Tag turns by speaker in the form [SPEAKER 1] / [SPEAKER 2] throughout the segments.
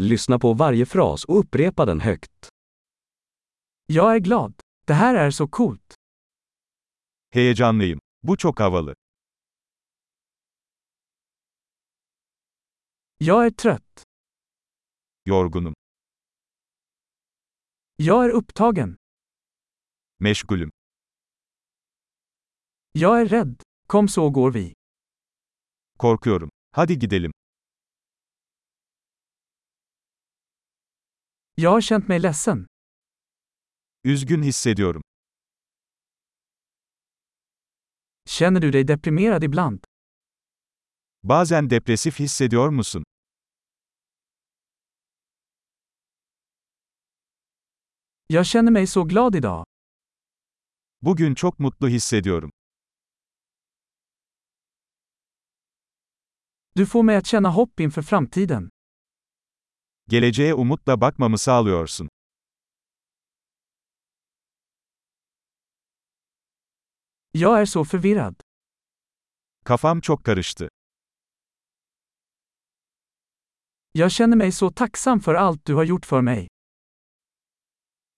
[SPEAKER 1] Lyssna på varje fras och upprepa den högt. Jag är glad. Det här är så coolt.
[SPEAKER 2] Heyecanlıyım. Bu çok havalı.
[SPEAKER 1] Jag är trött.
[SPEAKER 2] Yorgunum.
[SPEAKER 1] Jag är upptagen.
[SPEAKER 2] Meşgulüm.
[SPEAKER 1] Jag är rädd. Kom så går vi.
[SPEAKER 2] Korkuyorum. Hadi gidelim.
[SPEAKER 1] Jag har känt mig ledsen.
[SPEAKER 2] Üzgün hissediyorum.
[SPEAKER 1] Känner du dig deprimerad ibland?
[SPEAKER 2] Bazen depresif hissediyor musun?
[SPEAKER 1] Jag känner mig så glad idag.
[SPEAKER 2] Bugün çok mutlu hissediyorum.
[SPEAKER 1] Du får mig att känna hopp inför framtiden.
[SPEAKER 2] Geleceğe umutla bakmamı sağlıyorsun.
[SPEAKER 1] Jag är så förvirrad.
[SPEAKER 2] Kafam çok karıştı.
[SPEAKER 1] Jag känner mig så tacksam för allt du har gjort för mig.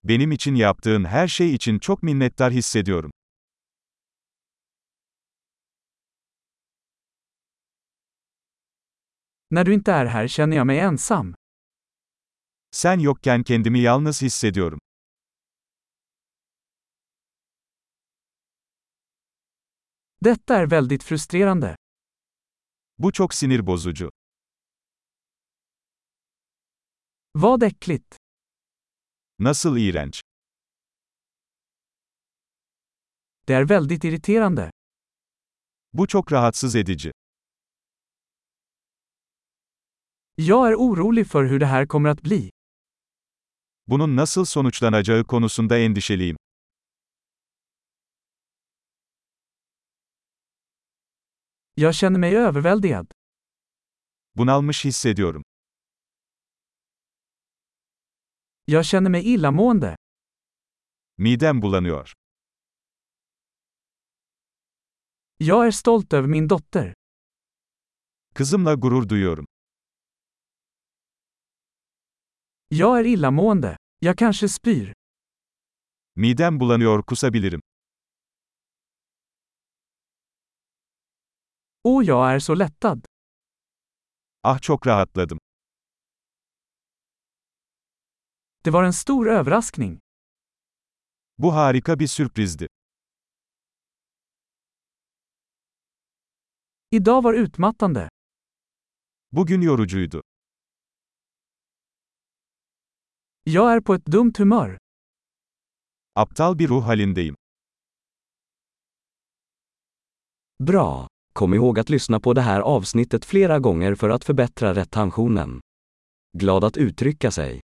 [SPEAKER 2] Benim için yaptığın her şey için çok minnettar hissediyorum.
[SPEAKER 1] När du inte är här känner jag mig ensam.
[SPEAKER 2] Sen yokken kendimi yalnız hissediyorum.
[SPEAKER 1] Detta är väldigt frustrerande.
[SPEAKER 2] Bu çok sinir bozucu.
[SPEAKER 1] Vad äckligt.
[SPEAKER 2] Nasıl iğrenç.
[SPEAKER 1] Det är väldigt irriterande.
[SPEAKER 2] Bu çok rahatsız edici.
[SPEAKER 1] Jag är orolig för hur det här kommer att bli.
[SPEAKER 2] Bunun nasıl sonuçlanacağı konusunda endişeliyim.
[SPEAKER 1] Jag känner mig överväldigad.
[SPEAKER 2] Bunalmış hissediyorum.
[SPEAKER 1] Jag känner mig illamående.
[SPEAKER 2] Midem bulanıyor.
[SPEAKER 1] Jag är stolt över min dotter.
[SPEAKER 2] Kızımla gurur duyuyorum.
[SPEAKER 1] Jag är illamående. Jag kanske spyr.
[SPEAKER 2] Midem bulanıyor kusabilirim.
[SPEAKER 1] Och jag är så lättad.
[SPEAKER 2] Ah çok rahatladım.
[SPEAKER 1] Det var en stor överraskning.
[SPEAKER 2] Bu harika bir sürprizdi.
[SPEAKER 1] Idag var utmattande.
[SPEAKER 2] Bugün yorucuydu.
[SPEAKER 1] Jag är på ett dumt humör.
[SPEAKER 2] Aptal bir ruh halindeyim.
[SPEAKER 3] Bra! Kom ihåg att lyssna på det här avsnittet flera gånger för att förbättra retentionen. Glad att uttrycka sig.